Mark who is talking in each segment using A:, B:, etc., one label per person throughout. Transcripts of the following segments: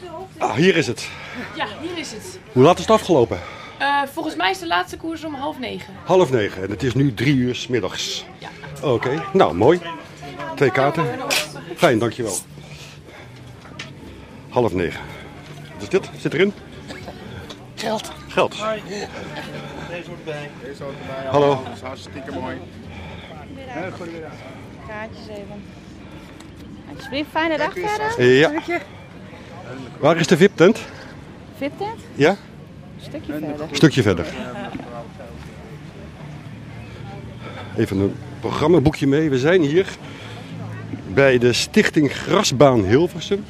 A: de hoogte.
B: Ah, hier is het.
A: Ja, hier is het.
B: Hoe laat is het afgelopen?
A: Eh, volgens mij is de laatste koers om half negen.
B: Half negen. En het is nu drie uur 's middags.
A: Ja.
B: Oké, nou mooi. Twee kaarten. Fijn, dankjewel. Half negen. Wat is dit? Zit erin?
C: Geld.
B: Geld.
D: Deze hoort erbij. Deze hoort erbij.
B: Hallo.
D: Dat is hartstikke mooi.
C: Kaartjes even. Alsjeblieft, fijne dag verder.
B: Ja. Waar is de VIP-tent?
C: Vipt het?
B: Ja?
C: Een stukje verder.
B: Een stukje verder. Even een programmaboekje mee. We zijn hier bij de Stichting Grasbaan Hilversum.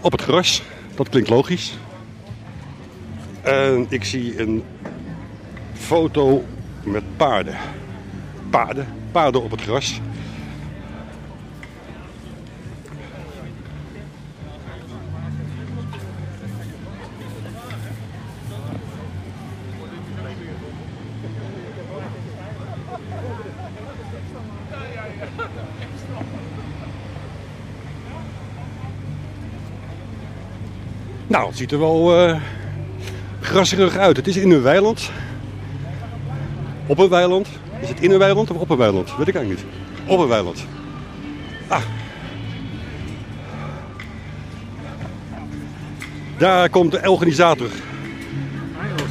B: Op het gras, dat klinkt logisch. En ik zie een foto met paarden. Paarden, paarden op het gras. Nou, het ziet er wel eh grasserig uit. Het is in een weiland. Op een weiland. Is het in een weiland of op een weiland? Weet ik eigenlijk niet. Op een weiland. Ah. Daar komt de organisator.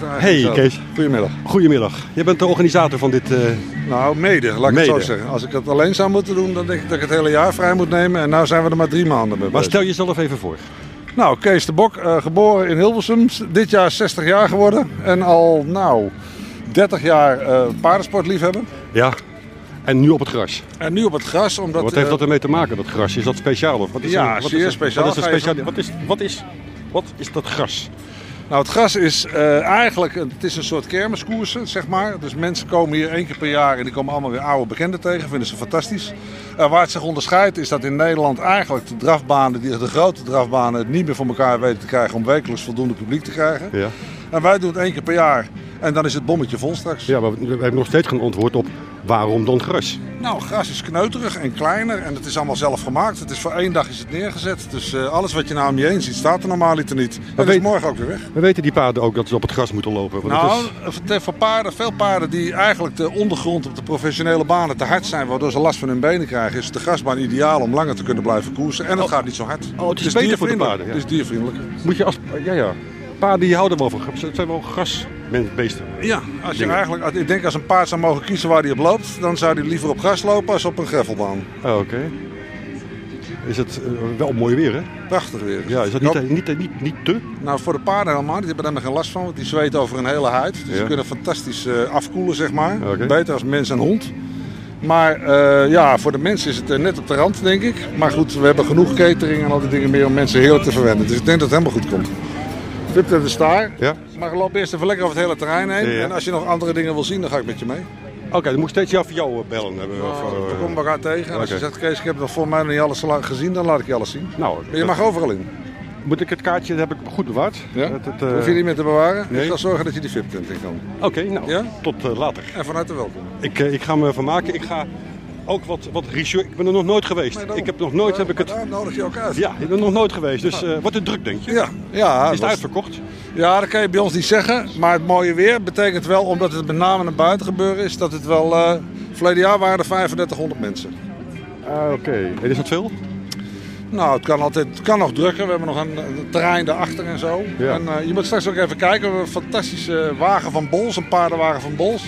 B: Hey Kees,
E: Goedemiddag.
B: goedemiddag. Je bent de organisator van dit... eh,
E: Nou, mede, laat ik het zo
B: Mede.
E: zeggen. Als ik dat alleen zou moeten doen, dan denk ik dat ik het hele jaar vrij moet nemen. En nou zijn we er maar drie maanden mee
B: Maar
E: bezig.
B: stel jezelf even voor.
E: Nou, Kees de Bok, eh, geboren in Hilversum. s- Dit jaar 60 jaar geworden. En al, nou, 30 jaar eh paardensportliefhebber.
B: Ja. En nu op het gras.
E: En nu op het gras, omdat...
B: Wat heeft
E: eh,
B: dat ermee te maken, dat gras? Is dat speciaal? Of wat is
E: Ja,
B: een- wat
E: zeer
B: is een-
E: speciaal.
B: Wat is, een
E: Ga je
B: speciaal wat, is, wat, is, wat is dat gras?
E: Nou, het gras is eh, eigenlijk, een- het is een soort kermiskoersen, zeg maar. Dus mensen komen hier één keer per jaar en die komen allemaal weer oude bekenden tegen. Vinden ze fantastisch. Eh, waar het zich onderscheidt is dat in Nederland eigenlijk de drafbanen, die- de grote drafbanen, het niet meer voor elkaar weten te krijgen om wekelijks voldoende publiek te krijgen.
B: Ja.
E: En wij doen het één keer per jaar en dan is het bommetje vol straks.
B: Ja, maar we hebben nog steeds geen antwoord op waarom dan gras.
E: Nou, gras is kneuterig en kleiner en het is allemaal zelf gemaakt. Het is voor één dag is het neergezet. Dus eh, alles wat je nou om je heen ziet staat er normaliter niet. En dat
B: weet-
E: is morgen ook weer weg.
B: We weten die paarden ook dat ze op het gras moeten lopen. Want
E: Nou,
B: het
E: voor- voor paarden, veel paarden die eigenlijk de ondergrond op de professionele banen te hard zijn, waardoor ze last van hun benen krijgen, is de grasbaan ideaal om langer te kunnen blijven koersen. En Oh. het gaat niet zo hard. Dus
B: het is beter voor de
E: diervriendelijk.
B: paarden, ja.
E: Het is diervriendelijk.
B: is, moet je als... Ja, ja. Paarden die houden wel van gras. Het zijn wel grasbeesten.
E: Ja, als je
B: Dingen.
E: eigenlijk, als- ik denk als een paard zou mogen kiezen waar hij op loopt, dan zou hij liever op gras lopen als op een gravelbaan.
B: Oh, Oké. Is het eh, wel mooi weer, hè?
E: Prachtig weer.
B: Ja, is dat
E: Ik
B: niet, eh,
E: hoop-
B: niet, niet, niet te?
E: Nou, voor de paarden helemaal niet. Die hebben daar maar geen last van, want die zweten over hun hele huid. Dus
B: Ja.
E: ze kunnen fantastisch eh, afkoelen, zeg maar.
B: Oké.
E: Beter als mens en hond. Maar eh, ja, voor de mensen is het eh, net op de rand, denk ik. Maar goed, we hebben genoeg catering en al die dingen meer om mensen heerlijk te verwennen. Dus ik denk dat het helemaal goed komt. Vip de staar.
B: Ja.
E: Maar loop eerst even lekker over het hele terrein heen.
B: Ja, ja.
E: En als je nog andere dingen wil zien, dan ga ik met je mee.
B: Oké, dan moet ik steeds jou voor jou eh, bellen. Hebben we, of, eh,
E: we komen elkaar tegen. En als je
B: Oké.
E: zegt, Kees, ik heb nog voor mij nog niet alles la- gezien, dan laat ik je alles zien.
B: Nou,
E: Maar je mag overal in.
B: moet ik het kaartje, dat heb ik goed bewaard.
E: Ja?
B: Het- het, eh,
E: Hoef je niet meer te bewaren.
B: nee.
E: Ik zal zorgen dat je die VIP tent in kan.
B: Oké, nou,
E: Ja?
B: tot eh, later.
E: En van harte welkom.
B: Ik, eh, ik ga me vermaken. Ik ga ook wat, wat research. Ik ben er nog nooit geweest.
E: Nee, daarom.
B: ik heb nog nooit heb ik het.
E: Daar Nou, nodig je ook uit.
B: Ja, ik ben nog nooit geweest. Dus eh wat een druk denk je?
E: Ja, ja,
B: Is het
E: dat-
B: uitverkocht?
E: ja, dat kan je bij ons niet zeggen. Maar het mooie weer betekent wel, omdat het met name een buitengebeuren is, dat het wel. eh verleden jaar waren er 3500 mensen.
B: Ah, oké. En is dat veel?
E: Nou, het kan, altijd, het kan nog drukker. We hebben nog een, een terrein daarachter en zo.
B: Ja.
E: En eh, je moet straks ook even kijken. We hebben een fantastische wagen van Bols, een paardenwagen van Bols.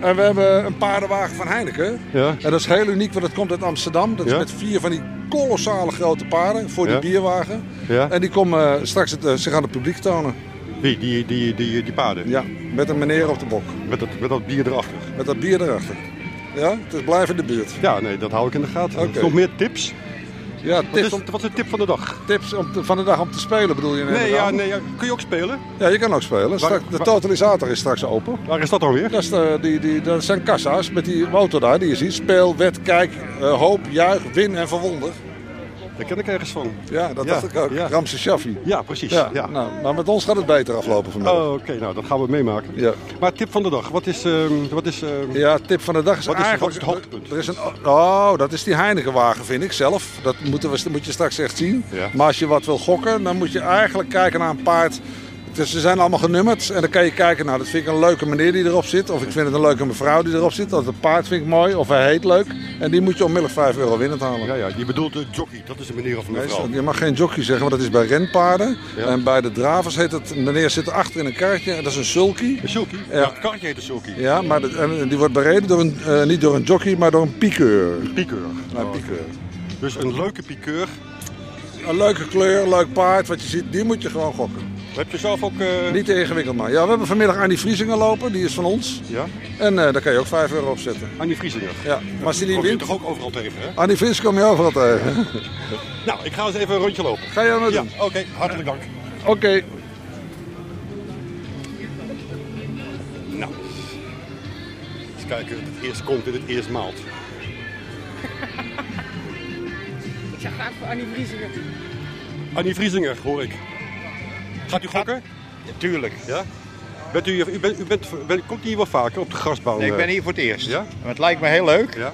E: En we hebben een paardenwagen van Heineken.
B: Ja.
E: En dat is heel uniek, want dat komt uit Amsterdam. Dat is
B: Ja.
E: met vier van die kolossale grote paarden voor die
B: Ja.
E: bierwagen.
B: Ja.
E: En die komen eh, straks het, eh, zich aan het publiek tonen.
B: Wie? Die, die, die, die paarden?
E: Ja, met een meneer op de bok.
B: Met, dat, met dat bier erachter.
E: Met dat bier erachter. Ja, het is blijf in de buurt.
B: Ja, nee, dat hou ik in de gaten.
E: Oké.
B: Nog meer tips?
E: Ja,
B: Wat is,
E: tips, om,
B: wat is de tip van de dag?
E: tips om te- van de dag om te spelen bedoel je? neem
B: Nee,
E: ik
B: ja,
E: aan?
B: nee ja. kun je ook spelen?
E: ja, je kan ook spelen. Straks- de
B: waar-
E: totalisator is straks open.
B: Waar is dat dan weer?
E: Dat, is de- die, die, dat zijn eh, kassa's met die auto daar die je ziet. Speel, wed, kijk, eh, hoop, juich, win en verwonder.
B: Daar ken ik ergens van.
E: Ja, dat
B: Ja,
E: dacht ik ook.
B: ja.
E: Ramse Shaffi.
B: Ja, precies.
E: Ja,
B: Ja.
E: Nou, maar met ons gaat het beter aflopen vandaag.
B: Oh, Oké, nou dat gaan we meemaken.
E: Ja.
B: Maar tip van de dag, wat is. ehm, wat is ehm,
E: Ja, tip van de dag is
B: Wat is-
E: eigenlijk...
B: wat is het hoogtepunt?
E: Er is een, oh, dat is die Heinekenwagen, vind ik zelf. Dat moeten we, moet je straks echt zien.
B: Ja.
E: Maar als je wat wil gokken, dan moet je eigenlijk kijken naar een paard. Dus ze zijn allemaal genummerd. En dan kan je kijken, nou, dat vind ik een leuke meneer die erop zit. Of ik vind het een leuke mevrouw die erop zit. Of het paard vind ik mooi. Of hij heet leuk. En die moet je onmiddellijk 5 euro winnen halen.
B: Ja, ja, je bedoelt de jockey, dat is de meneer of
E: Nee,
B: mevrouw.
E: Je mag geen jockey zeggen, want dat is bij renpaarden.
B: Ja.
E: En bij de dravers heet het, meneer zit achter in een karretje. En dat is een sulky.
B: Een sulky? Ja. het karretje heet een sulky.
E: Ja, maar dat- en die wordt bereden door een, eh, niet door een jockey, maar door een piekeur.
B: Piekeur.
E: Nou, piekeur.
B: Dus een leuke piekeur.
E: Een leuke kleur, leuk paard, wat je ziet, die moet je gewoon gokken.
B: Heb je zelf ook... eh,
E: Niet te ingewikkeld maar. Ja, we hebben vanmiddag Annie Vriesingen lopen, die is van ons.
B: Ja,
E: En eh, daar kan je ook 5 euro op zetten.
B: Annie Vriesinger.
E: Ja, maar als die niet
B: Kom je
E: wint,
B: toch ook overal tegen, hè?
E: Annie Vries kom je overal tegen.
B: Nou, ik ga eens even een rondje lopen.
E: Ga je dat nou
B: Ja,
E: doen?
B: oké. hartelijk dank.
E: Oké.
B: Nou. Eens kijken of het eerst komt en het eerst maalt.
A: Ik zeg graag voor Annie Vriesinger.
B: Annie Vriesinger, hoor ik. Gaat u gokken?
D: Tuurlijk.
B: Ja. Bent u, hier- u, bent, u bent, bent- komt u hier wel vaker op de grasbouw?
D: Nee, ik
B: eh?
D: ben hier voor het eerst.
B: Ja?
D: En Het lijkt me heel leuk,
B: Ja.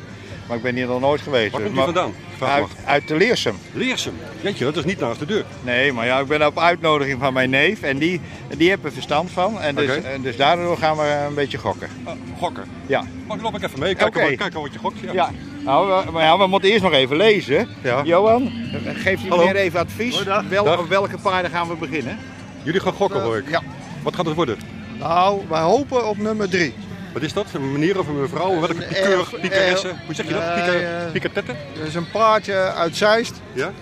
D: maar ik ben hier nog nooit geweest.
B: Waar
D: Dus
B: komt u
D: maar-
B: vandaan? Vraag
D: Uit,
B: maar.
D: uit de Leersum.
B: Leersum. Jeetje, dat is niet naast de deur.
D: Nee, maar ja, ik ben op uitnodiging van mijn neef en die, die heeft er verstand van. En dus,
B: Oké.
D: en dus daardoor gaan we een beetje gokken.
B: Ah, gokken.
D: Ja.
B: Maar loop ik even mee. Kijk
D: Oké.
B: al kijken wat je gokt. Ja.
D: Ja, nou, we, maar ja, we moeten eerst nog even lezen.
B: Ja.
D: Johan, geef die
B: Hallo.
D: meneer even advies.
B: Goeiedag.
D: Wel,
B: Dag.
D: Op welke paarden gaan we beginnen?
B: Jullie gaan gokken, hoor ik.
D: Ja.
B: Wat gaat het worden?
D: Nou, wij hopen op nummer 3.
B: Wat is dat? Een meneer of een mevrouw? Welke
D: Een
B: pikeur,
D: elf,
B: pikeresse?
D: elf.
B: Hoe zeg je
D: Nee,
B: dat? Piker,
D: eh.
B: pikertette?
D: Dat is een paardje uit Zeist
B: Ja?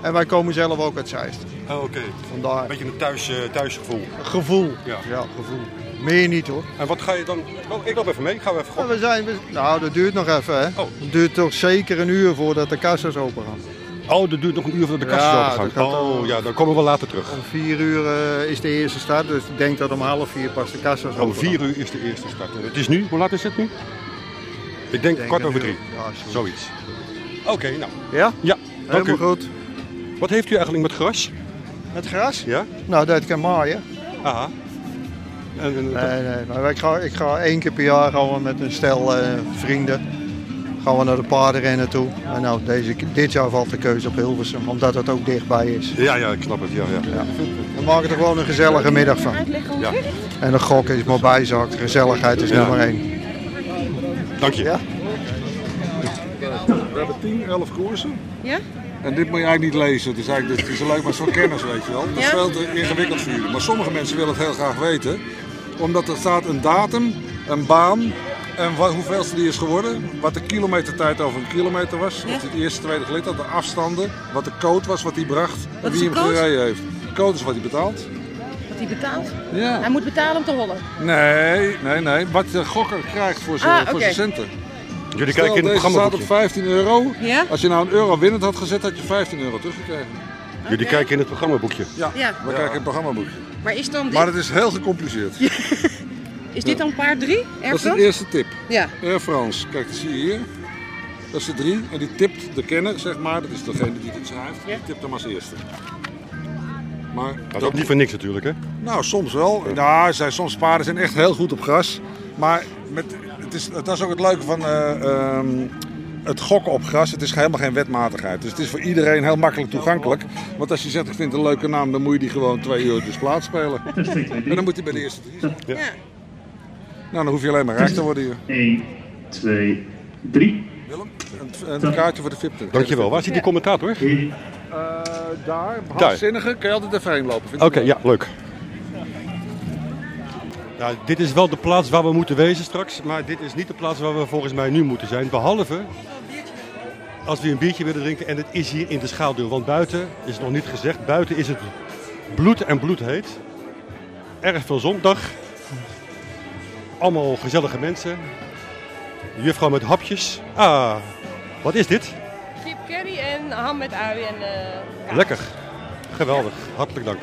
D: en wij komen zelf ook uit Zeist.
B: Oh, oké. Een
D: Vandaar.
B: beetje een thuis, eh, thuisgevoel.
D: Gevoel.
B: Ja.
D: gevoel. Meer niet hoor.
B: En wat ga je dan... Oh, ik loop even mee. Ik ga even
D: Ja,
B: gokken.
D: we zijn, we- nou, dat duurt nog even hè.
B: Oh.
D: Het duurt toch zeker een uur voordat de kassa's open gaan.
B: Oh, dat duurt nog een uur voordat de kast
D: Ja,
B: is opengegaan.
D: dat gaat
B: Oh,
D: wel.
B: ja, dan komen we later terug.
D: Om vier uur eh, is de eerste start, dus ik denk dat om half vier pas de kassa's open
B: Om Oh, vier uur is de eerste start. En het is nu... Hoe laat is het nu? Ik denk kwart over drie.
D: Ja, zoiets.
B: Zoiets. Oké, nou.
D: Ja?
B: Ja, dank
D: Helemaal
B: u.
D: goed.
B: Wat heeft u eigenlijk met gras?
D: Het gras?
B: Ja?
D: Nou, dat kan maaien.
B: Aha. En, en-
D: Nee, nee, maar ik ga, ik ga één keer per jaar gaan we met een stel eh, vrienden gaan we naar de paardenrennen toe. En nou, deze, dit jaar valt de keuze op Hilversum, omdat het ook dichtbij is.
B: Ja, ja, ik snap het. Ja, ja.
D: We maken er gewoon een gezellige middag van.
C: Uitleggen hoe
B: Ja.
C: het werkt.
D: En de gok is maar bijzaakt, gezelligheid is
B: Ja.
D: nummer één.
B: Dank je.
D: Ja?
E: We hebben 10, 11 koersen.
C: Ja?
E: En dit moet je eigenlijk niet lezen. Het is, eigenlijk, het is leuk, maar het is voor kennis, weet je wel. Het is
C: Ja.
E: veel te ingewikkeld voor jullie. Maar sommige mensen willen het heel graag weten. Omdat er staat een datum, een baan en wat, hoeveelste die is geworden. Wat de kilometertijd over een kilometer was. Of het eerste, tweede glitter, de afstanden. Wat de code was, wat die bracht. en
C: Wat is
E: wie
C: de
E: hem
C: code?
E: gereden heeft. Code is wat hij betaalt.
C: Wat hij betaalt. Hij
E: Ja.
C: moet betalen om te hollen.
E: Nee, nee, nee. Wat de gokker krijgt voor zijn
C: Ah,
E: voor
C: oké.
E: zijn centen.
B: Jullie
E: Stel,
B: kijken in het
E: deze
B: programma.
E: staat op 15 euro.
C: Ja?
E: Als je nou een euro winnend had gezet, had je 15 euro teruggekregen.
B: Jullie
C: Oké.
B: kijken in het programmaboekje.
E: Ja,
C: Ja.
E: we kijken het programmaboekje.
C: Maar is, dan dit,
E: Maar het is heel gecompliceerd.
C: is dit dan paard 3?
E: dat is
C: Ergens?
E: de eerste tip.
C: Ja.
E: Air France, kijk, dat zie je hier. Dat is de drie en die tipt de kenner, zeg maar. Dat is degene die dit schrijft. Die tipt hem als eerste. Maar
B: Dat is ook niet voor niks natuurlijk, hè?
E: Nou, soms wel. Ja, zijn, soms paarden zijn echt heel goed op gras. Maar met, het is, dat is ook het leuke van eh, ehm, het gokken op gras. Het is helemaal geen wetmatigheid. Dus het is voor iedereen heel makkelijk toegankelijk. Want als je zegt, ik vind het een leuke naam, dan moet je die gewoon twee uur dus plaatspelen. En dan moet hij bij de eerste drie. zijn.
C: Ja.
E: Nou, dan hoef je alleen maar rijk te worden hier.
F: 1, 2, 3.
E: Willem, een, een kaartje voor de VIP.
B: Dankjewel. Waar zit die commentator? Oké,
E: daar, halfzinnige, kun je altijd even heen lopen. vind ik.
B: ja, leuk. Nou, dit is wel de plaats waar we moeten wezen straks, maar dit is niet de plaats waar we volgens mij nu moeten zijn. Behalve als we een biertje willen drinken en het is hier in de schaduw. Want buiten is nog niet gezegd, buiten is het bloed en bloedheet. Erg veel zondag. Allemaal gezellige mensen. De Juffrouw met hapjes. Ah, wat is dit?
G: Kip curry en ham met ui en eh, kaas.
B: Lekker. Geweldig. Hartelijk dank.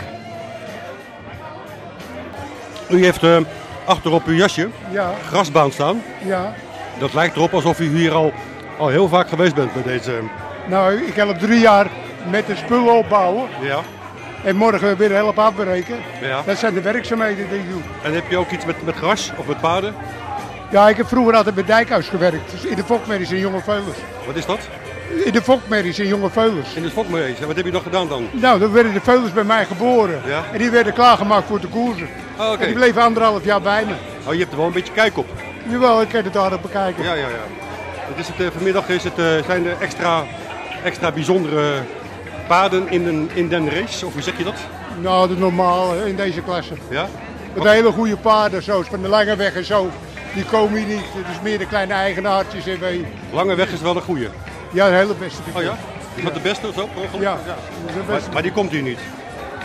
B: U heeft eh, achterop uw jasje
H: Ja,
B: grasbaan staan.
H: ja.
B: Dat lijkt erop alsof u hier al, al heel vaak geweest bent bij deze... eh,
H: Nou, ik heb op drie jaar met de spullen opbouwen
B: Ja.
H: en morgen weer helpen afbreken.
B: Ja.
H: Dat zijn de werkzaamheden die ik doe.
B: En heb je ook iets met, met gras of met paarden?
H: Ja, ik heb vroeger altijd bij Dijkhuis gewerkt, dus in de fokmerries in Jonge Veulens.
B: Wat is dat?
H: In de fokmerries in Jonge Veulens.
B: In het fokmees. En wat heb je nog gedaan dan?
H: Nou, dan werden de veulens bij mij geboren.
B: Ja.
H: En die werden klaargemaakt voor de koersen.
B: Oh,
H: En
B: oké.
H: die bleven anderhalf jaar bij me.
B: Oh, je hebt er wel een beetje kijk op.
H: Jawel, ik kan het aardig bekijken.
B: Ja, ja, ja. Het is het, eh, vanmiddag is het, eh, zijn er extra, extra bijzondere paden in den, in den race. Of hoe zeg je dat?
H: Nou, dat is normaal hè, in deze klasse.
B: Ja?
H: Met hele goede paarden, zo van de lange weg en zo. Die komen hier niet. Het is meer de kleine eigenaartjes en wij.
B: Lange weg is wel een goeie.
H: Ja, de hele beste. vind ik.
B: Oh ja? Is dat de beste of zo? per ongeluk?
H: Ja, de beste.
B: Maar, maar die komt hier niet.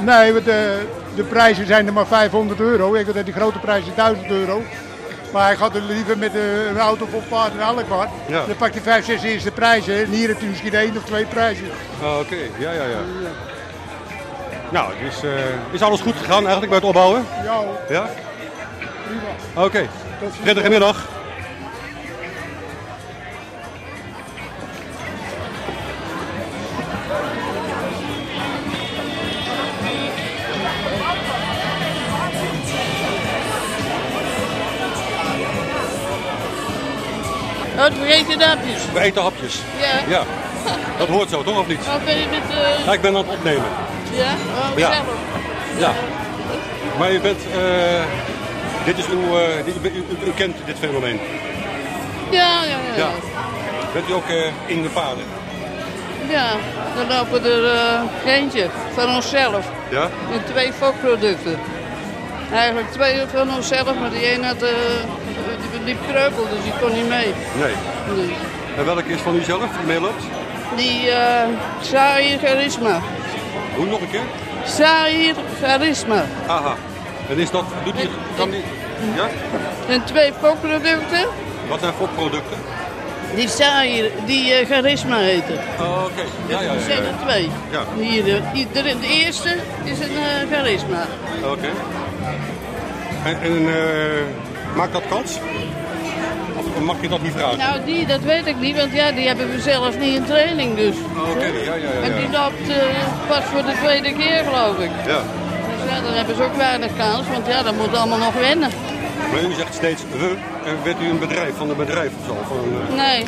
H: Nee, want de, de prijzen zijn er maar 500 euro. Ik had die grote prijs is 1000 euro. Maar hij gaat er liever met eh, een auto vol paard naar Alkmaar.
B: Ja.
H: Dan pakt hij 5, 6 eerste prijzen. En hier heeft hij misschien één of twee prijzen.
B: Oh, oké. Ja, ja, ja. Nou, dus eh, is alles goed gegaan eigenlijk bij het opbouwen?
H: Ja, hoor.
B: Ja?
H: prima.
B: Oké.
H: Tot ziens.
B: Prettige middag.
I: Oh, we eten dapjes.
B: We eten hapjes.
I: Ja.
B: Ja. Dat hoort zo, toch of niet?
I: Wat ben je met... eh,
B: Ja, ik ben aan het opnemen.
I: ja? Oh,
B: Ja.
I: gezellig.
B: Ja. Maar u bent... eh, dit is uw... eh, dit- u, u- u kent dit fenomeen.
I: Ja, ja, ja.
B: Ja.
I: ja.
B: Bent u ook eh, in de paden?
I: Ja, we lopen er eh, eentje van onszelf
B: Ja.
I: met twee fokproducten. Eigenlijk twee van onszelf, maar die ene had, eh, die, die kreupel, dus die kon niet mee.
B: Nee.
I: Nee.
B: En welke is van u zelf? Die meeloopt?
I: Die eh Zahir Charisma.
B: Hoe nog een keer?
I: Zahir Charisma.
B: Aha. En is dat... Doet die... Kan die... Ja?
I: En twee fokproducten
B: Wat zijn voor producten?
I: die Zahir, die eh, Charisma heten.
B: Oh, oké. Ja, ja,
I: Er
B: ja.
I: zijn er
B: ja.
I: twee.
B: Ja.
I: Hier, eh, die, de, de eerste is een eh, charisma.
B: Oké. En, en eh, maakt dat kans? Of mag je dat niet vragen?
I: Nou, die, dat weet ik niet, want ja, die hebben we zelf niet in training dus.
B: Oh, Oké, ja, ja, ja.
I: En
B: ja.
I: die loopt eh, pas voor de tweede keer, geloof ik.
B: ja.
I: Dus ja, dan hebben ze ook weinig kans, want ja, dat moet allemaal nog wennen.
B: Maar u zegt steeds we. En werd u een bedrijf van een bedrijf of zo? Van, eh,
I: Nee,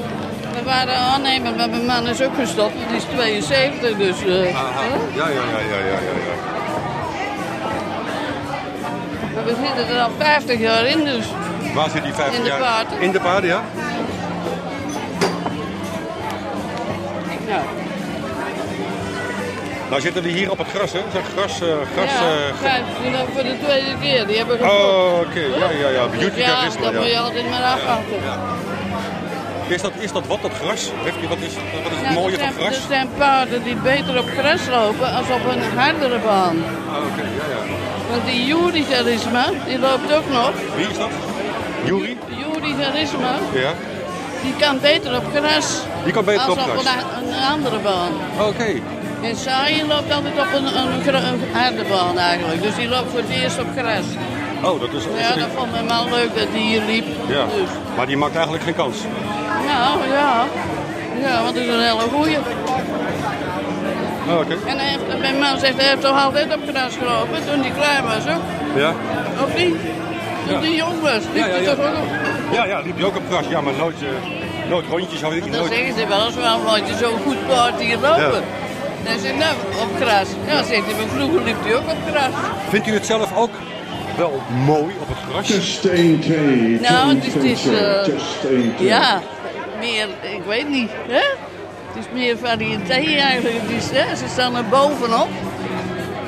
I: we waren aannemer, maar mijn man is ook gestopt, want die is 72, dus... eh,
B: aha.
I: hè?
B: Ja, ja, ja, ja, ja, ja. ja.
I: Maar we zitten er al 50 jaar in, dus...
B: Waar zit die vijf
I: In de
B: jaar?
I: paarden.
B: In de paarden, ja.
I: Nou,
B: Nou zitten we hier op het gras, hè? Zeg gras, eh, gras.
I: ja,
B: eh, gras.
I: vijf, die loopt voor de tweede keer, die hebben gestopt.
B: Oh, oké. Ja, ja, ja.
I: Dus
B: Beauty
I: ja,
B: charisma,
I: dat moet je
B: ja.
I: altijd maar afwachten.
B: ja. Is dat, is dat wat, dat gras? Heeft u, wat, is, wat is het
I: Nou,
B: mooie
I: er,
B: van
I: zijn,
B: gras?
I: er zijn paarden die beter op gras lopen als op een hardere baan.
B: Ah, Oké, ja, ja.
I: Want die Juri Charisma, die loopt ook nog.
B: Wie is dat? Juri?
I: Juri Charisma,
B: Ja.
I: die kan beter op gras
B: Die kan beter
I: als
B: op
I: op
B: gras.
I: Een, een andere baan.
B: Oh, Oké.
I: En Saaien loopt altijd op een, een, gro- een harde baan eigenlijk. Dus die loopt voor het eerst op gras.
B: Oh, dat is...
I: Ja, dat vond mijn man leuk dat hij hier liep.
B: Ja.
I: Dus,
B: Maar die maakt eigenlijk geen kans.
I: nou ja. Ja, want het is een hele goeie.
B: Oh, Oké.
I: En hij heeft, mijn man zegt, hij heeft toch altijd op gras gelopen toen hij klein was ook.
B: Ja.
I: Of niet? Toen
B: Ja.
I: die jong was, liep
B: Ja, ja,
I: hij
B: ja.
I: toch ook op.
B: Ja, ja, liep je ook op gras. Ja, maar nooit, eh, nooit rondjes. Had ik
I: Want dan
B: nooit...
I: zeggen ze wel eens, waarom had je zo'n goed paard hier lopen? Dan zegt nou, op gras. Ja, zegt hij, maar vroeger liep hij ook op gras.
B: Vindt u het zelf ook wel mooi op het gras?
J: Test 1, 2.
I: Nou, dus het is, eh,
J: Test 1, 2.
I: Ja, meer, ik weet niet, hè? Het is meer variëteit eigenlijk. Het is, hè? Ze staan er bovenop.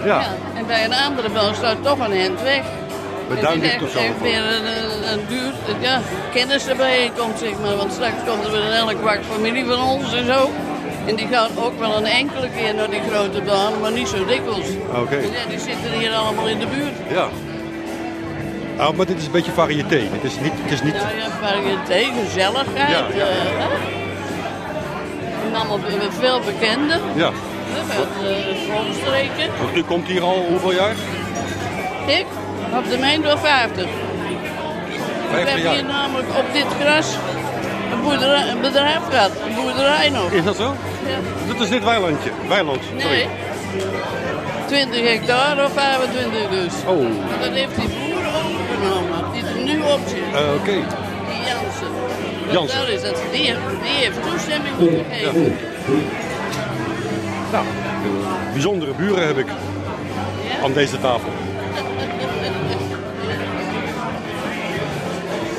I: Ja. En bij een andere bal staat toch een hand weg.
B: Met
I: Het is
B: duimlicht
I: echt,
B: of zo.
I: echt weer een, een, een duur, ja, kennisbijeenkomst zeg maar. Want straks komt er weer een hele kwak familie van ons en zo. En die gaan ook wel een enkele keer naar die grote baan, maar niet zo dikwijls.
B: Oké.
I: Dus ja, die zitten hier allemaal in de buurt.
B: Ja. Ah, maar dit is een beetje variété. Het is niet... Het is niet...
I: Nou ja, variëteit, gezelligheid.
B: Ja, ja.
I: eh, hè? en allemaal be- veel bekenden.
B: Ja.
I: hè, Uit eh volstreken.
B: Want U komt hier al hoeveel jaar?
I: Ik, op de Meendorf 50. Ik
B: Vijftig
I: heb hier
B: jaar.
I: namelijk op dit gras een, boerderij, een bedrijf gehad, een boerderij nog.
B: Is dat zo?
I: Ja.
B: Dit is dit weilandje. Weiland, sorry.
I: Nee. 20 hectare of 25 dus.
B: Oh.
I: Dat heeft die boer overgenomen. Die er nu op zit,
B: Eh, Oké.
I: die Jansen.
B: Jansen.
I: Dat is dat. Die, die heeft toestemming gegeven.
B: Nou, eh, bijzondere buren heb ik aan deze tafel.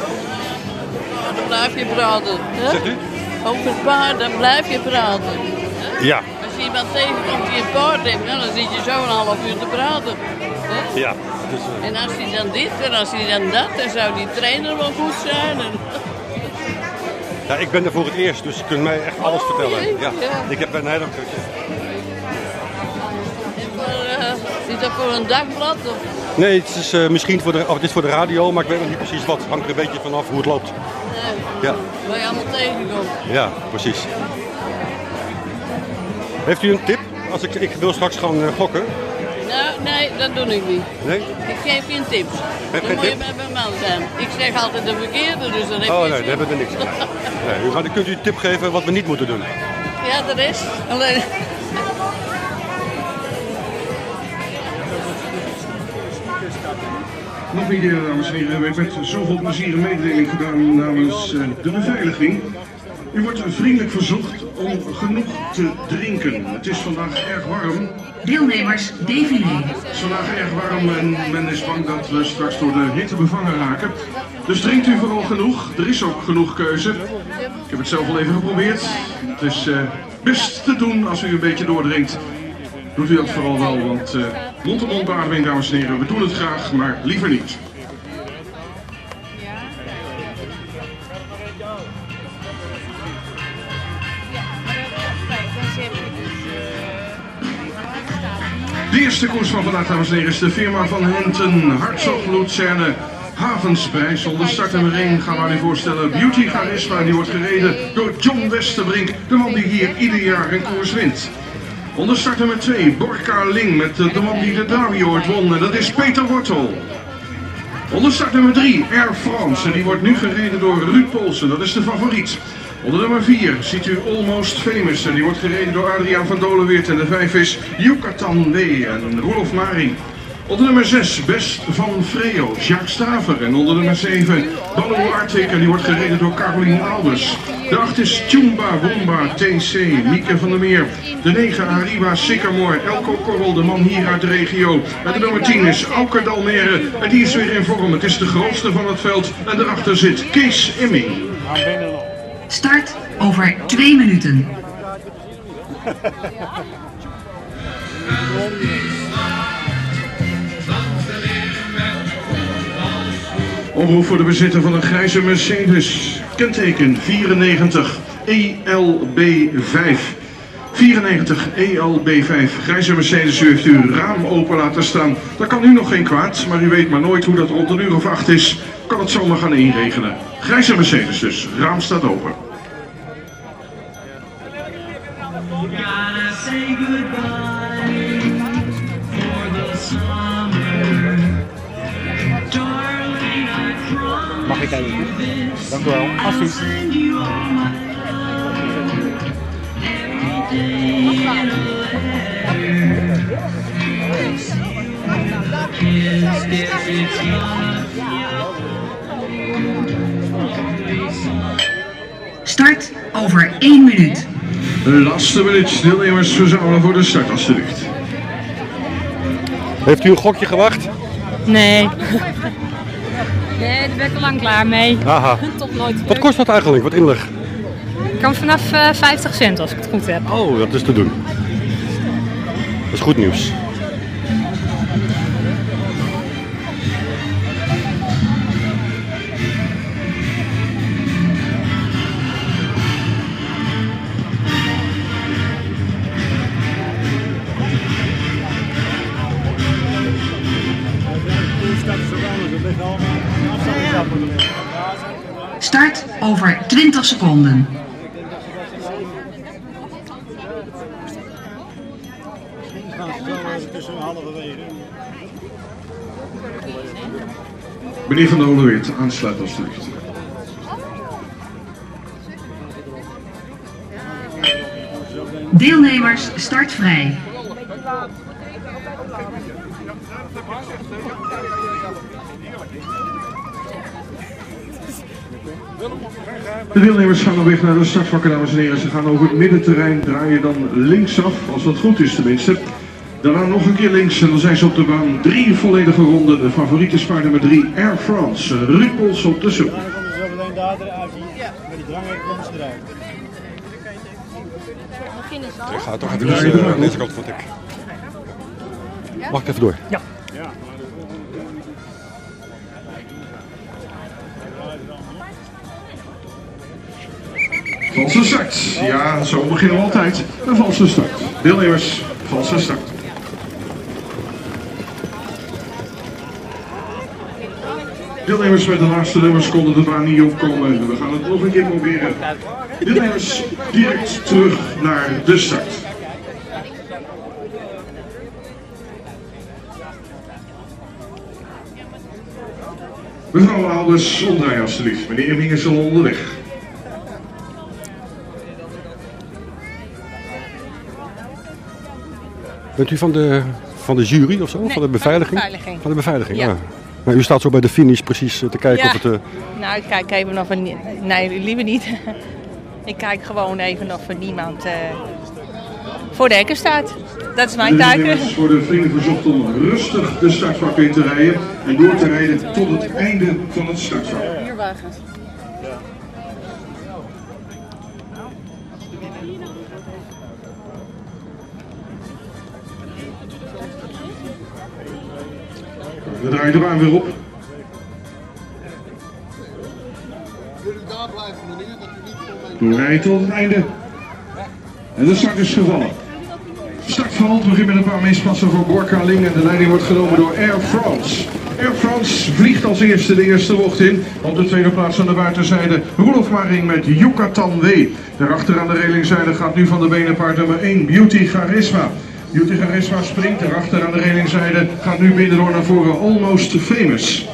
I: Maar Dan blijf je praten. Hè?
B: Zegt u?
I: Over het paard, dan blijf je praten.
B: Ja.
I: Als je iemand tegenkomt die een paard heeft, nou, dan zit je zo een half uur te praten. Hè?
B: Ja. Dus, eh,
I: En als hij dan dit en als hij dan dat, dan zou die trainer wel goed zijn. En-
B: ja, ik ben er voor het eerst, dus je kunt mij echt alles vertellen.
I: jee,
B: Ja.
I: ja.
B: Ik heb een hele druk.
I: Maar, eh, is dat voor een dagblad? Of?
B: Nee, het is eh, misschien voor de, of, het is voor de radio, maar ik weet nog niet precies wat. Het hangt er een beetje vanaf hoe het loopt.
I: Nee,
B: Ja,
I: eh, waar je allemaal tegenkomt.
B: ja precies. Heeft u een tip? Als ik, ik wil straks gaan eh, gokken.
I: Nou, nee, dat doe ik niet.
B: Nee?
I: Ik geef geen tips.
B: Heb
I: dan
B: geen
I: moet je
B: tip?
I: bij mijn man zijn. Ik zeg altijd de verkeerde, dus dan heb
B: Oh
I: je
B: nee, daar hebben we niks aan. Nee, u gaat, kunt u een tip geven wat we niet moeten doen?
I: Ja, dat is. Alleen...
J: Nog een keer, dames en heren, u heeft met zoveel plezier een mededeling gedaan namens eh, de beveiliging. U wordt vriendelijk verzocht om genoeg te drinken. Het is vandaag erg warm. Deelnemers defileren. Het is vandaag erg warm en men is bang dat we straks door de hitte bevangen raken. Dus drinkt u vooral genoeg. Er is ook genoeg keuze. Ik heb het zelf al even geprobeerd. Het is eh, best te doen als u een beetje doordrinkt. Doet u dat vooral wel, want eh, mond-op-mond beademing, dames en heren, we doen het graag, maar liever niet. De eerste koers van vandaag, dames en heren, is de firma van Henten, Hartzog, Luzerne, Havensbijssel. De start nummer 1 gaan we aan u voorstellen. Beauty Charisma, die wordt gereden door John Westerbrink, de man die hier ieder jaar een koers wint. Onder start nummer 2, Borka Ling, met eh, de man die de derby ooit won, en dat is Peter Wortel. Onder start nummer 3, Air France. En die wordt nu gereden door Ruud Polsen. Dat is de favoriet. Onder nummer 4 ziet u Almost Famous. En die wordt gereden door Adriaan van Dolenweert. En de 5 is Yucatan W. En Rolf Mari. Onder nummer 6, Best van Freo, Jacques Staver. En onder nummer 7, Ballo Artik. En die wordt gereden door Caroline Albers. De 8 is Chumba Womba TC, Mieke van der Meer. De 9, Arriba Sycamore, Elko Korrel, de man hier uit de regio. En de nummer 10 is Auker Dalmere. En die is weer in vorm. Het is de grootste van het veld. En daarachter zit Kees Imming.
K: Start over twee minuten.
J: Omroep voor de bezitter van een grijze Mercedes. Kenteken E 94 ELB5. 94 ELB5. Grijze Mercedes, u heeft uw raam open laten staan. Dat kan u nog geen kwaad, maar u weet maar nooit hoe dat rond een uur of acht is. Kan het zomaar gaan inregenen. Grijze Mercedes dus, raam staat open.
L: Gotta say goodbye for the summer. Darling, I promise.
A: Mag ik even? Dank u wel. Alsjeblieft.
K: Start over één minuut.
J: Laatste minuut, deelnemers verzamelen voor de start alsjeblieft.
B: Heeft u een gokje gewacht?
M: Nee. Nee, daar ben ik al lang klaar mee.
B: Haha.
M: Toch nooit
B: Wat kost dat eigenlijk, wat inleg?
M: Ik kan vanaf eh, 50 cent als ik het goed heb.
B: Oh, dat is te doen. Dat is goed nieuws.
K: Start over 20 seconden.
J: Meneer Van der Holeweert, aansluit alsjeblieft.
K: Deelnemers startvrij.
J: De deelnemers gaan op weg naar de startvakken, dames en heren. Ze gaan over het middenterrein, draaien dan linksaf, als dat goed is tenminste. Daarna nog een keer links en dan zijn ze op de baan. Drie volledige ronden. De favoriete spaar nummer drie, Air France. Eh, Ruud Pols op de zoek.
N: zo meteen daar eruit hier. Met die drang komen ze eruit.
B: Ik ga toch even dus, eh, aan deze kant van het hek. Mag ik even door?
N: Ja.
J: Valse start. Ja, zo beginnen we altijd. Een valse start. Deelnemers, valse start. Deelnemers met de laatste nummers konden de baan niet opkomen. We gaan het nog een keer proberen. Deelnemers, direct terug naar de start. Mevrouw Alders, omdraai alsjeblieft. Meneer Ming is al onderweg.
B: Bent u van de, van de jury of zo?
G: Nee,
B: van de beveiliging?
G: van de beveiliging.
B: Van de beveiliging,
G: Ja.
B: ja. Maar u staat zo bij de finish precies eh, te kijken
G: Ja.
B: of het... eh,
G: Nou, ik kijk even of er... ni- Nee, liever niet. ik kijk gewoon even of er niemand eh, voor de hekken staat. Dat is mijn
J: de
G: taak.
J: deelnemers worden vrienden verzocht om rustig de startvak in te rijden en door te rijden tot het einde van het startvak.
I: Bierwagens.
J: We draaien de baan weer op. Doorrijden tot het einde. En de start is gevallen. Startvalt begint met een paar mispassen voor Gorka Ling en de leiding wordt genomen door Air France. Air France vliegt als eerste de eerste bocht in. Op de tweede plaats aan de buitenzijde Roelof Maring met Yucatan W. Daarachter aan de relingzijde gaat nu van de benen paard nummer 1 Beauty Charisma. Beauty Charisma springt daarachter aan de relingzijde gaat nu binnen door naar voren Almost Famous.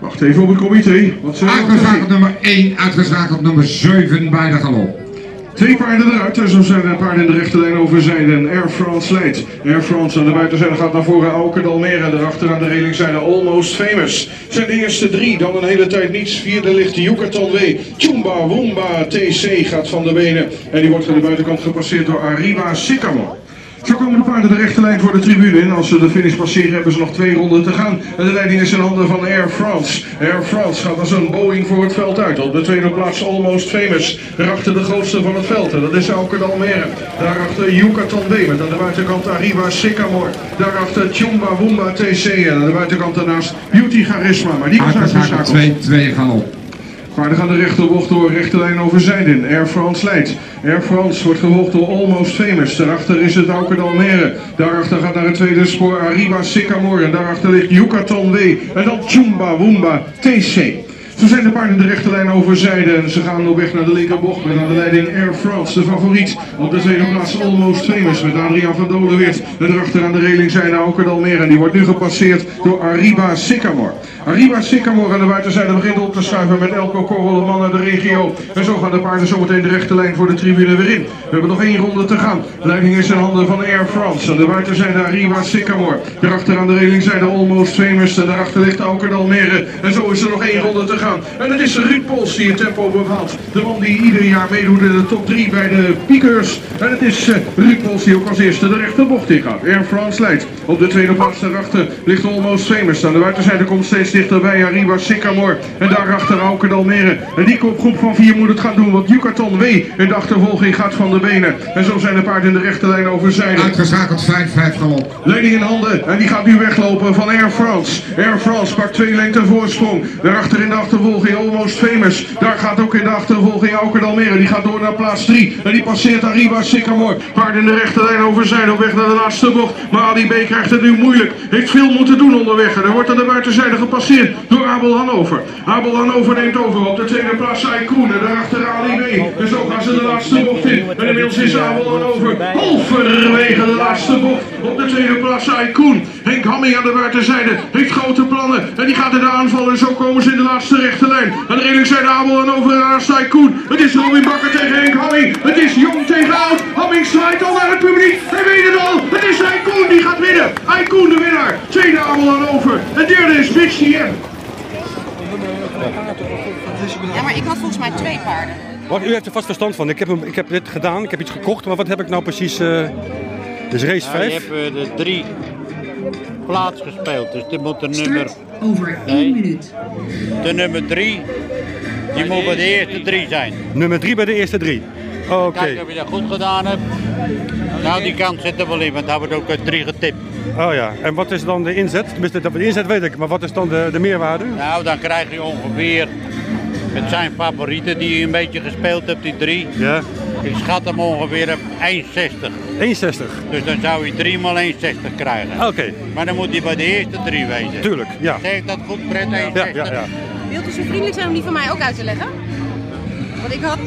J: Wacht even op het comité. Wat zijn
O: Uitgeschakeld nummer 1, uitgeschakeld nummer 7 bij de galop.
J: Twee paarden eruit, en zo zijn er paarden in de rechterlijn over zijn en Air France leidt. Air France aan de buitenzijde gaat naar voren, Auken, Dalmere en daarachter aan de reling zijn er Almost Famous. Zijn de eerste drie, dan een hele tijd niets. Vierde ligt Yucatan W. Chumba Wumba TC gaat van de benen en die wordt aan de buitenkant gepasseerd door Arriba Sycamore. Zo komen de paarden de rechte lijn voor de tribune in. Als ze de finish passeren hebben ze nog twee ronden te gaan. En de leiding is in handen van Air France. Air France gaat als een Boeing voor het veld uit. Op de tweede plaats Almost Famous. Daarachter de grootste van het veld. En dat is Auken Almere. Daarachter Yucatan B. Met aan de buitenkant Arriba Sycamore. Daarachter Chumba Wumba TC. En aan de buitenkant daarnaast Beauty Charisma. Maar die is
O: Uitgeschakeld 2,
J: uitgeschakeld.
O: 2 galop.
J: Paarden gaan de rechterbocht door, rechterlijn over Zijden. Air France leidt. Air France wordt gevolgd door Almost Famous. Daarachter is het Auken Almere. Daarachter gaat naar het tweede spoor Arriba Sycamore. En daarachter ligt Yucatan W. En dan Chumba Wumba TC. Zo zijn de paarden de rechterlijn over Zijden. En ze gaan op weg naar de linkerbocht met aan de leiding Air France, de favoriet. Op de tweede plaats Almost Famous met Adriaan van Dolenweert. En daarachter aan de reling zijn Auken Almere. En die wordt nu gepasseerd door Arriba Sycamore. Arriba Sycamore aan de buitenzijde begint op te schuiven met Elko Korrel, de man uit de regio. En zo gaan de paarden zometeen de rechte lijn voor de tribune weer in. We hebben nog één ronde te gaan. Leiding is in handen van Air France. Aan de buitenzijde Arriba Sycamore. Daarachter aan de reling zijn de Almost Famous. En daarachter ligt Auken Almere. En zo is er nog één ronde te gaan. En het is Ruud Pols die het tempo bepaalt. De man die ieder jaar meedoet in de top 3 bij de piekers. En het is eh, Ruud Pols die ook als eerste de rechterbocht ingaat. Air France leidt. Op de tweede plaats daarachter ligt Almost Famous. Aan de buitenzijde komt steeds dichterbij Arriba Sycamore. En daarachter Auken Almere. En die kopgroep van 4 moet het gaan doen. Want Yucatan W in de achtervolging gaat van de benen. En zo zijn de paarden in de rechterlijn overzijden.
O: Uitgeschakeld 5, 5 galop.
J: Leiding in handen en die gaat nu weglopen van Air France. Air France pakt twee lengte voorsprong. Daarachter in de achtervolging Almost Famous. Daar gaat ook in de achtervolging Auken Almere. Die gaat door naar plaats 3 en die passeert Arriba Sycamore. Paarden in de rechterlijn over zijn op weg naar de laatste bocht. Maar Ali B krijgt het nu moeilijk. Heeft veel moeten doen onderweg en er wordt aan de buitenzijde gepasseerd door Abel Hannover. Abel Hannover neemt over op de tweede plaats Saikoen en daarachter Ali B. En zo gaan ze de laatste bocht in. En inmiddels is Abel Hannover halverwege de laatste bocht. Op de tweede plaats Saikoen. Henk Hamming aan de buitenzijde heeft grote plannen. En die gaat in de aanval en zo komen ze in de laatste rechte lijn. Aan de linkerzijde Abel en overaars Koen. Het is Robin Bakker tegen Henk Hamming. Het is Jong tegen Oud. Hamming zwaait al naar het publiek. Hij weet het al. Het is Koen die gaat winnen. Koen de winnaar. Tweede Abel en over. En derde is Mitch Diem.
P: Ja, maar ik had volgens mij twee paarden.
B: Wacht, u heeft er vast verstand van. Ik heb, hem- ik heb dit gedaan, ik heb iets gekocht, maar wat heb ik nou precies... eh dus race
Q: Nou, je
B: 5.
Q: hebt eh, de drie plaats gespeeld, dus dit moet de nummer...
K: Over één minuut.
Q: De nummer drie, die moet bij de eerste drie zijn.
B: Nummer 3 bij de eerste drie. Oké.
Q: Kijk of je dat goed gedaan hebt. Nou, die kant zit er wel in, want daar wordt ook een drie getipt.
B: Oh ja, en wat is dan de inzet? Tenminste, dat- de inzet weet ik, maar wat is dan de, de meerwaarde?
Q: Nou, dan krijg je ongeveer... Het zijn favorieten die je een beetje gespeeld hebt, die drie.
B: Ja.
Q: Ik schat hem ongeveer op 1,60.
B: 1,60.
Q: Dus dan zou je 3 maal 1,60 krijgen.
B: Oké.
Q: Maar dan moet hij bij de eerste drie wezen.
B: Oh. Tuurlijk, ja.
Q: Zeg ik dat goed, Brett? 1,60?
B: ja, ja.
P: Wilt u zo vriendelijk zijn om die van mij ook uit te leggen? Want ik had...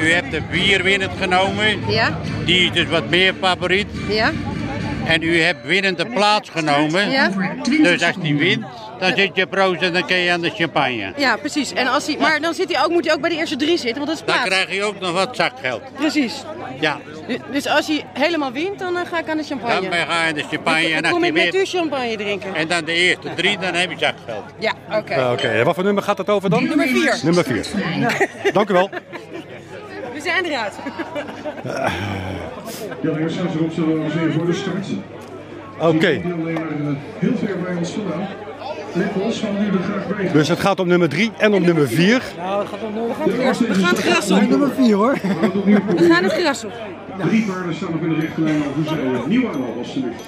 Q: U hebt de vier winnend genomen.
P: Ja?
Q: Die is dus wat meer favoriet.
P: Ja?
Q: En u hebt winnende plaats genomen.
P: Ja.
Q: Dus als die wint, dan zit je proost en dan kun je aan de champagne.
P: Ja, precies. En als hij, maar dan zit hij ook, moet hij ook bij de eerste drie zitten, want dat is
Q: Dan
P: plaats.
Q: krijg je ook nog wat zakgeld.
P: Precies.
Q: Ja,
P: Du- Dus als hij helemaal wint, dan eh, ga ik aan de champagne.
Q: dan ga je aan de champagne
P: Dan
Q: en als
P: kom
Q: die
P: ik met u
Q: wint.
P: champagne drinken.
Q: En dan de eerste drie, dan heb je zakgeld.
P: Ja, oké.
B: Eh, Oké, en wat voor nummer gaat dat over dan?
P: Nummer vier.
B: Nummer 4. Dank u wel.
P: We zijn eruit.
J: Ja, de hersens erop zullen we eens even voor de eh, start.
B: Oké.
J: eh, Heel ver bij ons vandaan. Let ons, want nu er graag bij.
B: Dus het gaat om nummer 3 en om nummer 4.
J: Nou, dat gaat om nummer
P: We gaan het gras op.
J: Nummer
B: 4 hoor.
P: We gaan het gras op.
J: Drie paarden staan nog in de rechterlijn over zijn nieuw aanval, alsjeblieft.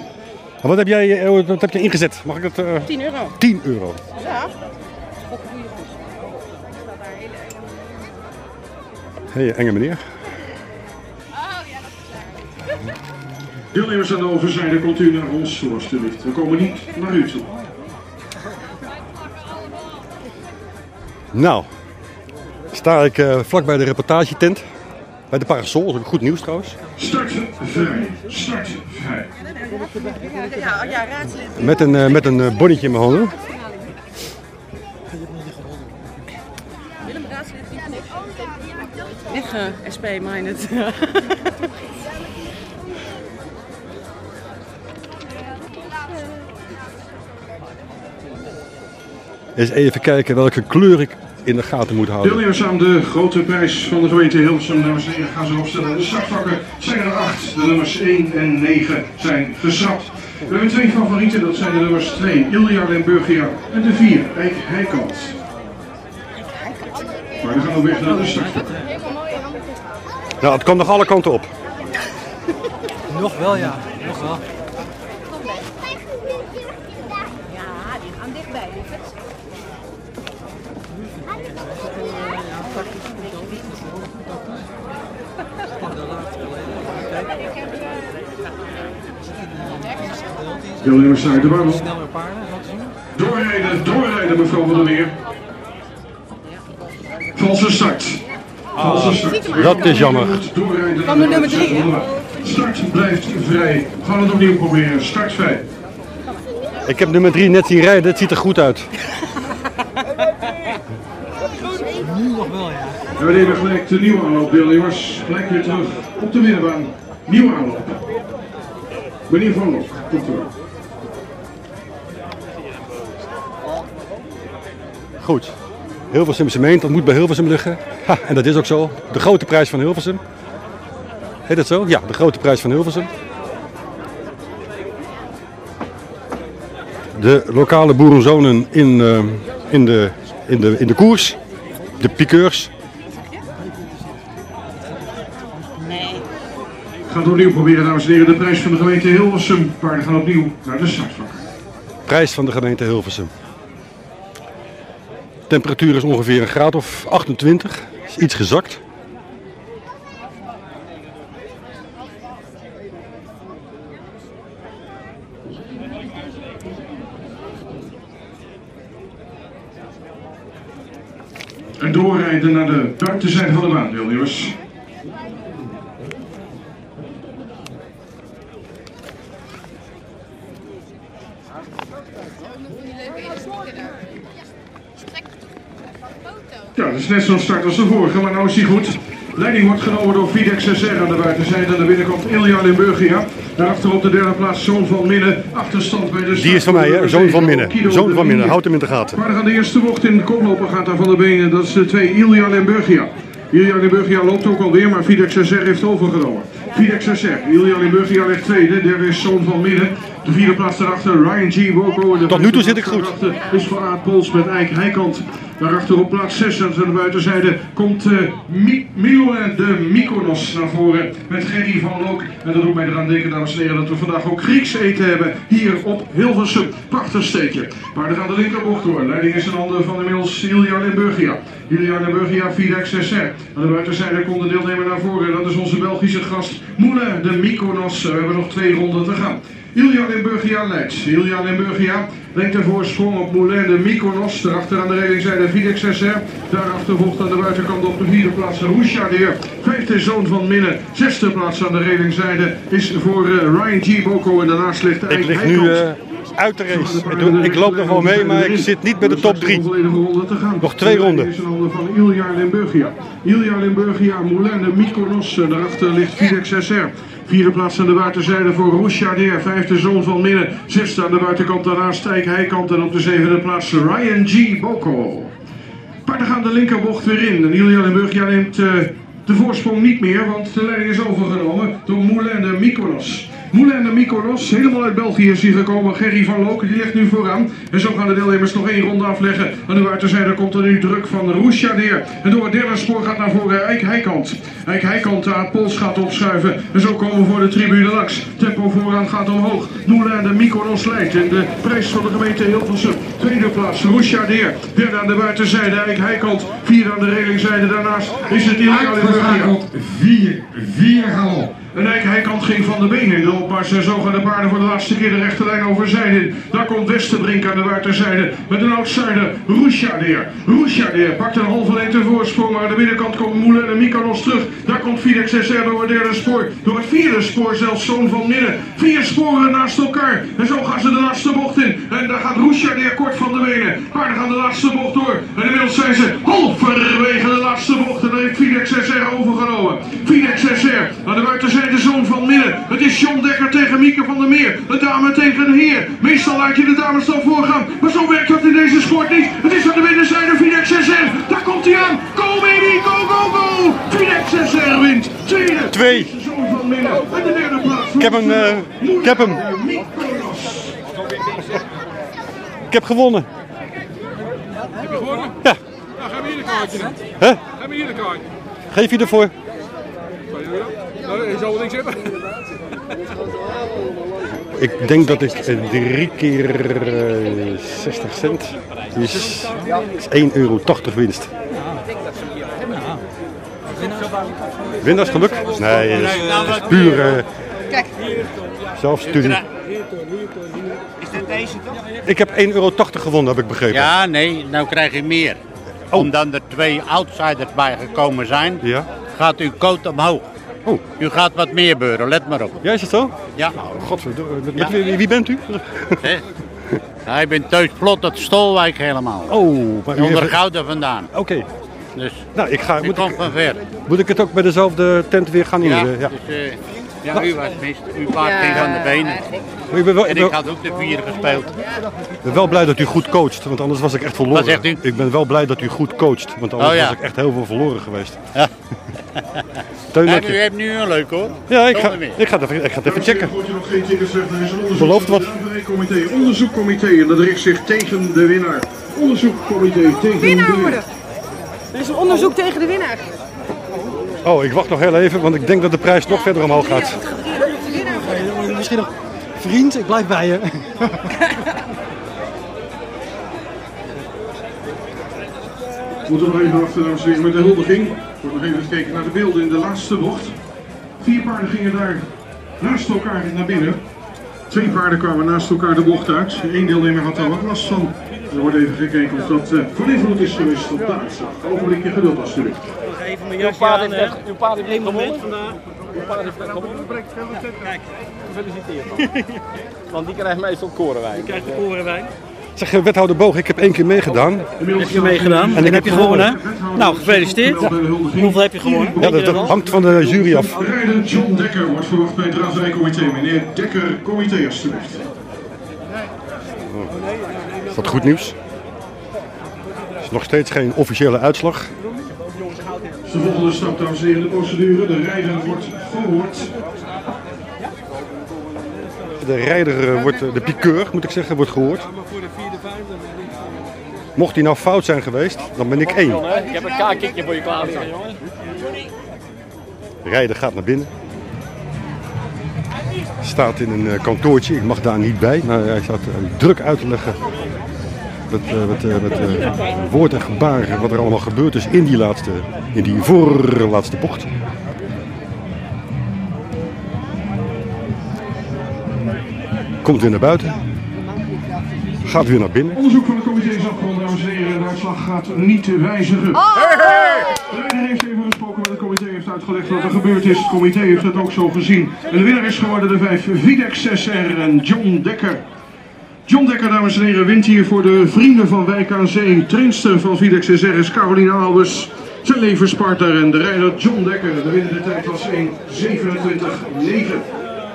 B: Wat heb jij, eh, wat heb je ingezet? Mag ik dat? eh,
P: 10 euro.
B: 10 euro.
P: Ja.
B: Hé, hey, enge meneer.
J: Deelnemers aan de overzijde, komt u naar ons toe, alsjeblieft. We komen niet naar u toe.
B: Nou, sta ik eh, vlak bij de reportagetent. Bij de parasol, dat is ook goed nieuws trouwens.
J: Starten vrij, starten vrij.
P: Ja, ja, raadslid.
B: Met een, eh, met een eh, bonnetje in mijn handen.
P: Willem raadslid vindt niks. Echt eh, SP-minded.
B: Eens even kijken welke kleur ik in de gaten moet houden.
J: Deelnemers aan de grote prijs van de gemeente Hilversum, dames en heren, gaan ze opstellen. De zakvakken zijn er acht. De nummers 1 en 9 zijn geschrapt. We hebben twee favorieten, dat zijn de nummers 2, Ilja Lemburgia en de 4, Eik Heikant. Maar we gaan we weg naar de startvakken.
B: Nou, het kan nog alle kanten op.
R: Nog wel, ja. Nog wel.
L: Ja, die gaan dichtbij.
J: Deelnemers zijn de warmte.
R: Snellere paarden, zo te zien.
J: Doorrijden, doorrijden mevrouw van der Meer. Valse start.
Q: Ah.
J: Valse start.
B: dat is jammer.
J: Doorrijden
P: Van de nummer drie, hè?
J: Start blijft vrij. We gaan het opnieuw proberen. Start vrij.
B: Ik heb nummer 3 net zien rijden, het ziet er goed uit.
R: Nu nog wel, ja.
J: En we nemen gelijk de nieuwe aanloop, deelnemers. Gelijk weer terug op de winnenbaan. Nieuwe aanloop. Meneer Van Lok, komt er.
B: Goed. Hilversum Cement, dat moet bij Hilversum liggen. Ha, en dat is ook zo. De grote prijs van Hilversum. Heet dat zo? Ja, de grote prijs van Hilversum. De lokale boerenzonen in, eh, in, de, in, de, in de koers. De piqueurs.
J: We gaan het opnieuw proberen, dames en heren. De prijs van de gemeente Hilversum. Paarden gaan opnieuw naar de startvak.
B: Prijs van de gemeente Hilversum. Temperatuur is ongeveer een graad of 28. Is iets gezakt.
J: En doorrijden naar de buitenzijde van de baan, deelnemers. Ja, dat is net zo'n start als de vorige, maar nou is hij goed. Leiding wordt genomen door Videx SR aan de buitenzijde. Aan de binnenkant Ilja Limburgia. Daarachter op de derde plaats Zoon van Minnen. Achterstand bij de
B: Die is van mij, hè? Zoon van Minnen. Zoon van Minnen. Houd hem in de gaten.
J: Maar aan de eerste bocht in de koploper gaat daar van de benen. Dat is de twee Ilja Limburgia. Ilja Limburgia loopt ook alweer, maar Videx SR heeft overgenomen. Videx SR. Ilja Limburgia ligt tweede. Derde is Zoon van Minnen. De vierde plaats daarachter Ryan G. Woko.
B: Tot nu toe zit ik goed.
J: Is voor Aad Pols met Eik Heikant. Daarachter op plaats 6 aan de buitenzijde komt eh, Mi- Milan de Mykonos naar voren met Gerry van Lok. En dat doet mij eraan denken, dames en heren, dat we vandaag ook Grieks eten hebben hier op Hilversum. Prachtig steekje. Maar er aan de linkerbocht door. Leiding is een handen van inmiddels Ilja Limburgia. Ilja Limburgia, 4XSR. Aan de buitenzijde komt de deelnemer naar voren. Dat is onze Belgische gast Moulin de Mykonos. We hebben nog twee ronden te gaan. Ilja Limburgia leidt. Ilja Limburgia Lengt de voorsprong op Moulin de Mykonos. Daarachter aan de redingzijde Videx SR. Daarachter volgt aan de buitenkant op de vierde plaats Rouchadeer. Vijfde zoon van Minnen. Zesde plaats aan de redingzijde is voor eh, Ryan G. Boko. En daarnaast ligt
B: Ik lig nu eh, uit de race. Ik doe- Ik loop nog wel mee, maar ik zit niet bij de top 3. Nog twee ronden.
J: is in handen van Ilja Limburgia. Ilja Limburgia, Moulin de Mykonos. En Daarachter ligt Videx SR. Vierde plaats aan de buitenzijde voor Rouchadeer. Vijfde zoon van Minnen. Zesde aan de buitenkant daarnaast Stijk Heikant. En op de zevende plaats Ryan G. Boko. Paarden gaan de linkerbocht weer in. En Ilja Limburgia neemt eh, de voorsprong niet meer, want de leiding is overgenomen door Moulin de Mykonos. Moulin de Mykonos, helemaal uit België is hier gekomen. Gerry van Loken, die ligt nu vooraan. En zo gaan de deelnemers nog één ronde afleggen. Aan de buitenzijde komt er nu druk van Roesja neer. En door het derde spoor gaat naar voren Eik Heikant. Eik Heikant aan Pols gaat opschuiven. En zo komen we voor de tribune langs. Tempo vooraan gaat omhoog. Moulin de Mykonos leidt. En de prijs van de gemeente Hilversum. Tweede plaats Roesja neer. Derde aan de buitenzijde Eik Heikant. Vierde aan de relingzijde. Daarnaast is het Ilja Limburgia.
O: 4, 4 galop.
J: En Eik Heikant ging van de benen in de opmars. En zo gaan de paarden voor de laatste keer de rechte lijn over zijn in. Daar komt Westerbrink aan de buitenzijde met een outsider, Roesjadeer. Roesjadeer pakt een halve lengte voorsprong. Maar aan de binnenkant komt Moelen en Mikanos terug. Daar komt Fidex SR door het derde spoor. Door het vierde spoor zelfs Zoon van Midden. Vier sporen naast elkaar. En zo gaan ze de laatste bocht in. En daar gaat Roesjadeer kort van de benen. Paarden gaan de laatste bocht door. En inmiddels zijn ze halverwege de laatste bocht. En dan heeft Fidex SR overgenomen. Fidex SR aan de buitenzijde zoon van Midden. Het is John Dekker tegen Mieke van der Meer. De dame tegen de heer. Meestal laat je de dames dan voorgaan. Maar zo werkt dat in deze sport niet. Het is aan de winnenzijde Fidex SR. Daar komt hij aan. Go baby, go, go, go. Fidex SR wint. Tweede.
B: Twee.
J: Zoon van Midden. En de derde plaats.
B: Ik heb hem. eh, ik heb hem. Ik heb gewonnen.
S: Heb je gewonnen?
B: Ja.
S: Nou, gaan we hier de kaartje dan.
B: Hè?
S: Gaan we hier de kaartje.
B: Geef je ervoor?
S: Nou, je zal wel niks hebben.
B: Ik denk dat ik eh, drie keer eh, 60 cent is, is 1,80 euro winst. Winnaarsgeluk? Nee, dat is, dat is puur eh,
T: Kijk.
B: zelfstudie.
T: Is dit deze toch?
B: Ik heb 1,80 euro gewonnen, heb ik begrepen.
Q: Ja, nee, nou krijg je meer.
J: Oh.
Q: Omdat er twee outsiders bij gekomen zijn, gaat uw coat omhoog. U gaat wat meer beuren, let maar op.
B: Ja, Oh, is het zo?
Q: Ja.
B: Godverdomme. Met, met wie, wie bent u?
Q: Hè? Nou, ik ben Teus Plot uit Stolwijk helemaal.
B: Oh, maar u
Q: Onder
B: heeft-
Q: Gouden vandaan.
B: Oké.
Q: Dus
B: Nou, ik ga.
Q: ik kom van ver.
B: Moet ik het ook bij dezelfde tent weer gaan
Q: Ja,
B: inhuren? Ja.
Q: Dus, eh, ja, u was mis. U paard ging van de benen.
B: Maar ik ben wel-
Q: en
B: ik
Q: ik
B: ben-
Q: had ook de vier gespeeld.
B: Ik ben wel blij dat u goed coacht, want anders was ik echt verloren.
Q: Wat zegt u?
B: Ik ben wel blij dat u goed coacht, want anders
Q: Oh, ja.
B: was ik echt heel veel verloren geweest.
Q: Ja.
B: Teun, dank
Q: En
B: je.
Q: u heeft nu een leuk hoor.
B: Ja, ik ga,
Q: Zonder meer.
B: ik ga, het, even, ik ga het even checken.
J: Gooit u nog geen tickets weg naar zijn onderzoek.
B: Belooft wat.
J: Comité, onderzoekcomité en dat richt zich tegen de winnaar. Onderzoekcomité tegen de
P: Winnaar
J: winnaar.
P: worden. Er is een onderzoek tegen de winnaar.
B: Oh, ik wacht nog heel even, want ik denk dat de prijs nog verder omhoog gaat.
R: Misschien nog... Vriend, ik blijf bij je.
J: Moeten we nog even wachten, dames en heren, met de huldiging. Er wordt nog even gekeken naar de beelden in de laatste bocht. Vier paarden gingen daar naast elkaar naar binnen. Twee paarden kwamen naast elkaar de bocht uit. Eén deelnemer had daar wat last van. Er wordt even gekeken of dat eh, van invloed is geweest op de uitslag. Ogenblikje geduld alsjeblieft.
N: Even mijn
U: Uw
N: jasje
U: paard
N: aan.
U: heeft echt- uw paard heeft echt gewonnen.
N: vandaag. Uw paard heeft echt gewonnen. Kijk, gefeliciteerd.
U: Want die krijgt meestal korenwijn.
N: Je krijgt de korenwijn.
B: Zeg, eh, wethouder Boog, ik heb één keer
Q: Oh,
B: meegedaan.
U: Heb je meegedaan? En,
B: ik
U: heb je gewonnen? Nou, gefeliciteerd. Hoeveel heb je gewonnen?
B: Ja, dat, dat hangt van de jury af.
J: Rijder John Dekker wordt verwacht bij het raadrijcomité. Meneer Dekker, comité alsjeblieft.
B: Is dat goed nieuws? Er is nog steeds geen officiële uitslag.
J: Dus de volgende stap, dames en heren, de procedure. De rijder wordt verhoord.
B: De rijder eh, wordt, eh, de pikeur moet ik zeggen, wordt gehoord. Mocht hij nou fout zijn geweest, dan ben ik één.
V: Ik heb een kaakje voor je klaar staan, jongen.
B: De rijder gaat naar binnen. Staat in een eh, kantoortje, ik mag daar niet bij, maar hij staat eh, druk uit te leggen. Met, eh, met, eh, met eh, woord en gebaren wat er allemaal gebeurd is in die, laatste, in die voorlaatste bocht. Komt weer naar buiten. Gaat weer naar binnen.
J: Onderzoek van het comité is afgerond, dames en heren. De uitslag gaat niet wijzigen. De rijder heeft even gesproken met het comité, heeft uitgelegd wat er gebeurd is. Het comité heeft het ook zo gezien. En de winnaar is geworden de vijf Videx SR en John Dekker. John Dekker, dames en heren, wint hier voor de vrienden van Wijk aan Zee. Trainster van Videx SR is Caroline Albers, zijn levenspartner. En de rijder John Dekker, de winnende tijd was 1.27.9.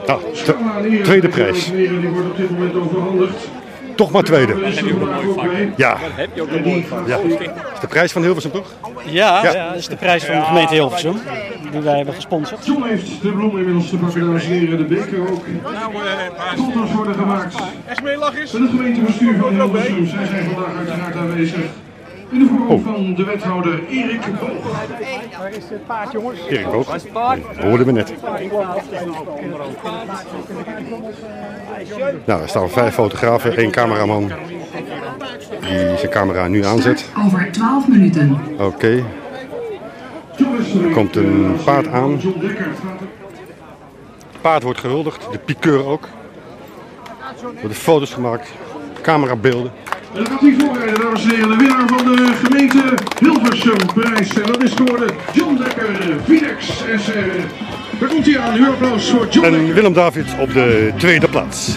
B: Nou, te- tweede prijs.
J: Die wordt op dit moment overhandigd.
B: Toch maar tweede. Ja,
J: heb je ook een mooi vak.
B: ja. Is de prijs van Hilversum toch?
U: Ja,
B: Ja.
U: ja, dat is de prijs van de gemeente Hilversum. Die wij hebben gesponsord.
J: John heeft de bloem inmiddels te pakken, dames en heren. De beker ook. Foto's worden gemaakt. En het gemeentebestuur van Hilversum zij zijn vandaag uiteraard aanwezig. In de vorm van de wethouder Erik Boog.
H: Waar is het paard, jongens?
B: Erik Boog. Dat hoorden we net. Nou, er staan vijf fotografen, één cameraman. Die zijn camera nu aanzet.
K: Over 12 minuten.
B: Oké. Er komt een paard aan. Het paard wordt gehuldigd, de pikeur ook. Er worden foto's gemaakt, camerabeelden.
J: En dan gaat hij voorrijden, dames en heren. De winnaar van de gemeente Hilversum prijs. En dat is geworden John Dekker, Videx SR. Daar komt hij aan. Uw applaus voor John
B: En Willem Davids op de tweede plaats.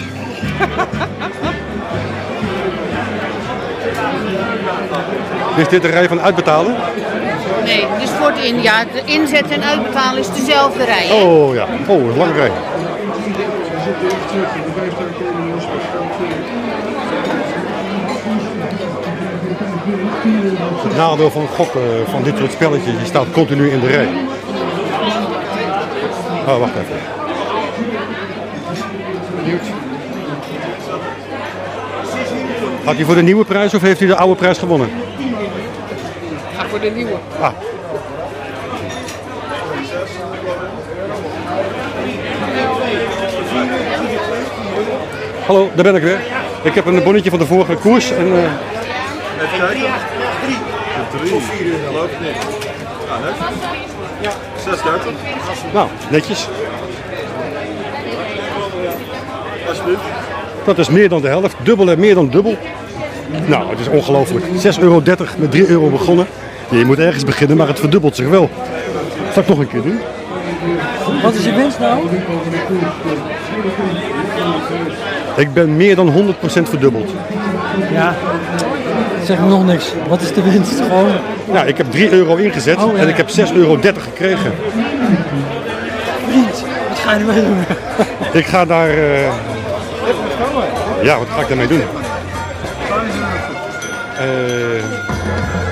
B: Is dit de rij van uitbetalen?
W: Nee, dus voor het in, ja, de inzet en uitbetalen is dezelfde rij. hè?
B: Oh ja, oh, een lange rij. Het nadeel van gokken van dit soort spelletjes, je staat continu in de rij. Oh, wacht even. Had hij voor de nieuwe prijs of heeft hij de oude prijs gewonnen?
T: Ga voor de nieuwe.
B: Ah, hallo, daar ben ik weer. Ik heb een bonnetje van de vorige koers. En, eh,
T: Even kijken. Drie. Drie. Tot vier uur, dan loopt het niet. Ja, net. Ja. 36.
B: nou, netjes.
T: Alsjeblieft.
B: Dat is meer dan de helft. Dubbel en meer dan dubbel. Nou, het is ongelooflijk. 6,30 euro met 3 euro begonnen. Je moet ergens beginnen, maar het verdubbelt zich wel. Zal ik nog een keer doen?
T: Wat is je winst nou?
B: Ik ben meer dan 100% verdubbeld.
R: Ja, zeg me nog niks. Wat is de winst? Gewoon.
B: Nou, ik heb 3 euro ingezet
R: Oh, ja.
B: en ik heb 6,30 euro gekregen.
R: Vriend, wat ga je ermee doen?
B: Ik ga daar... eh, Ja, wat ga ik daarmee doen? Eh,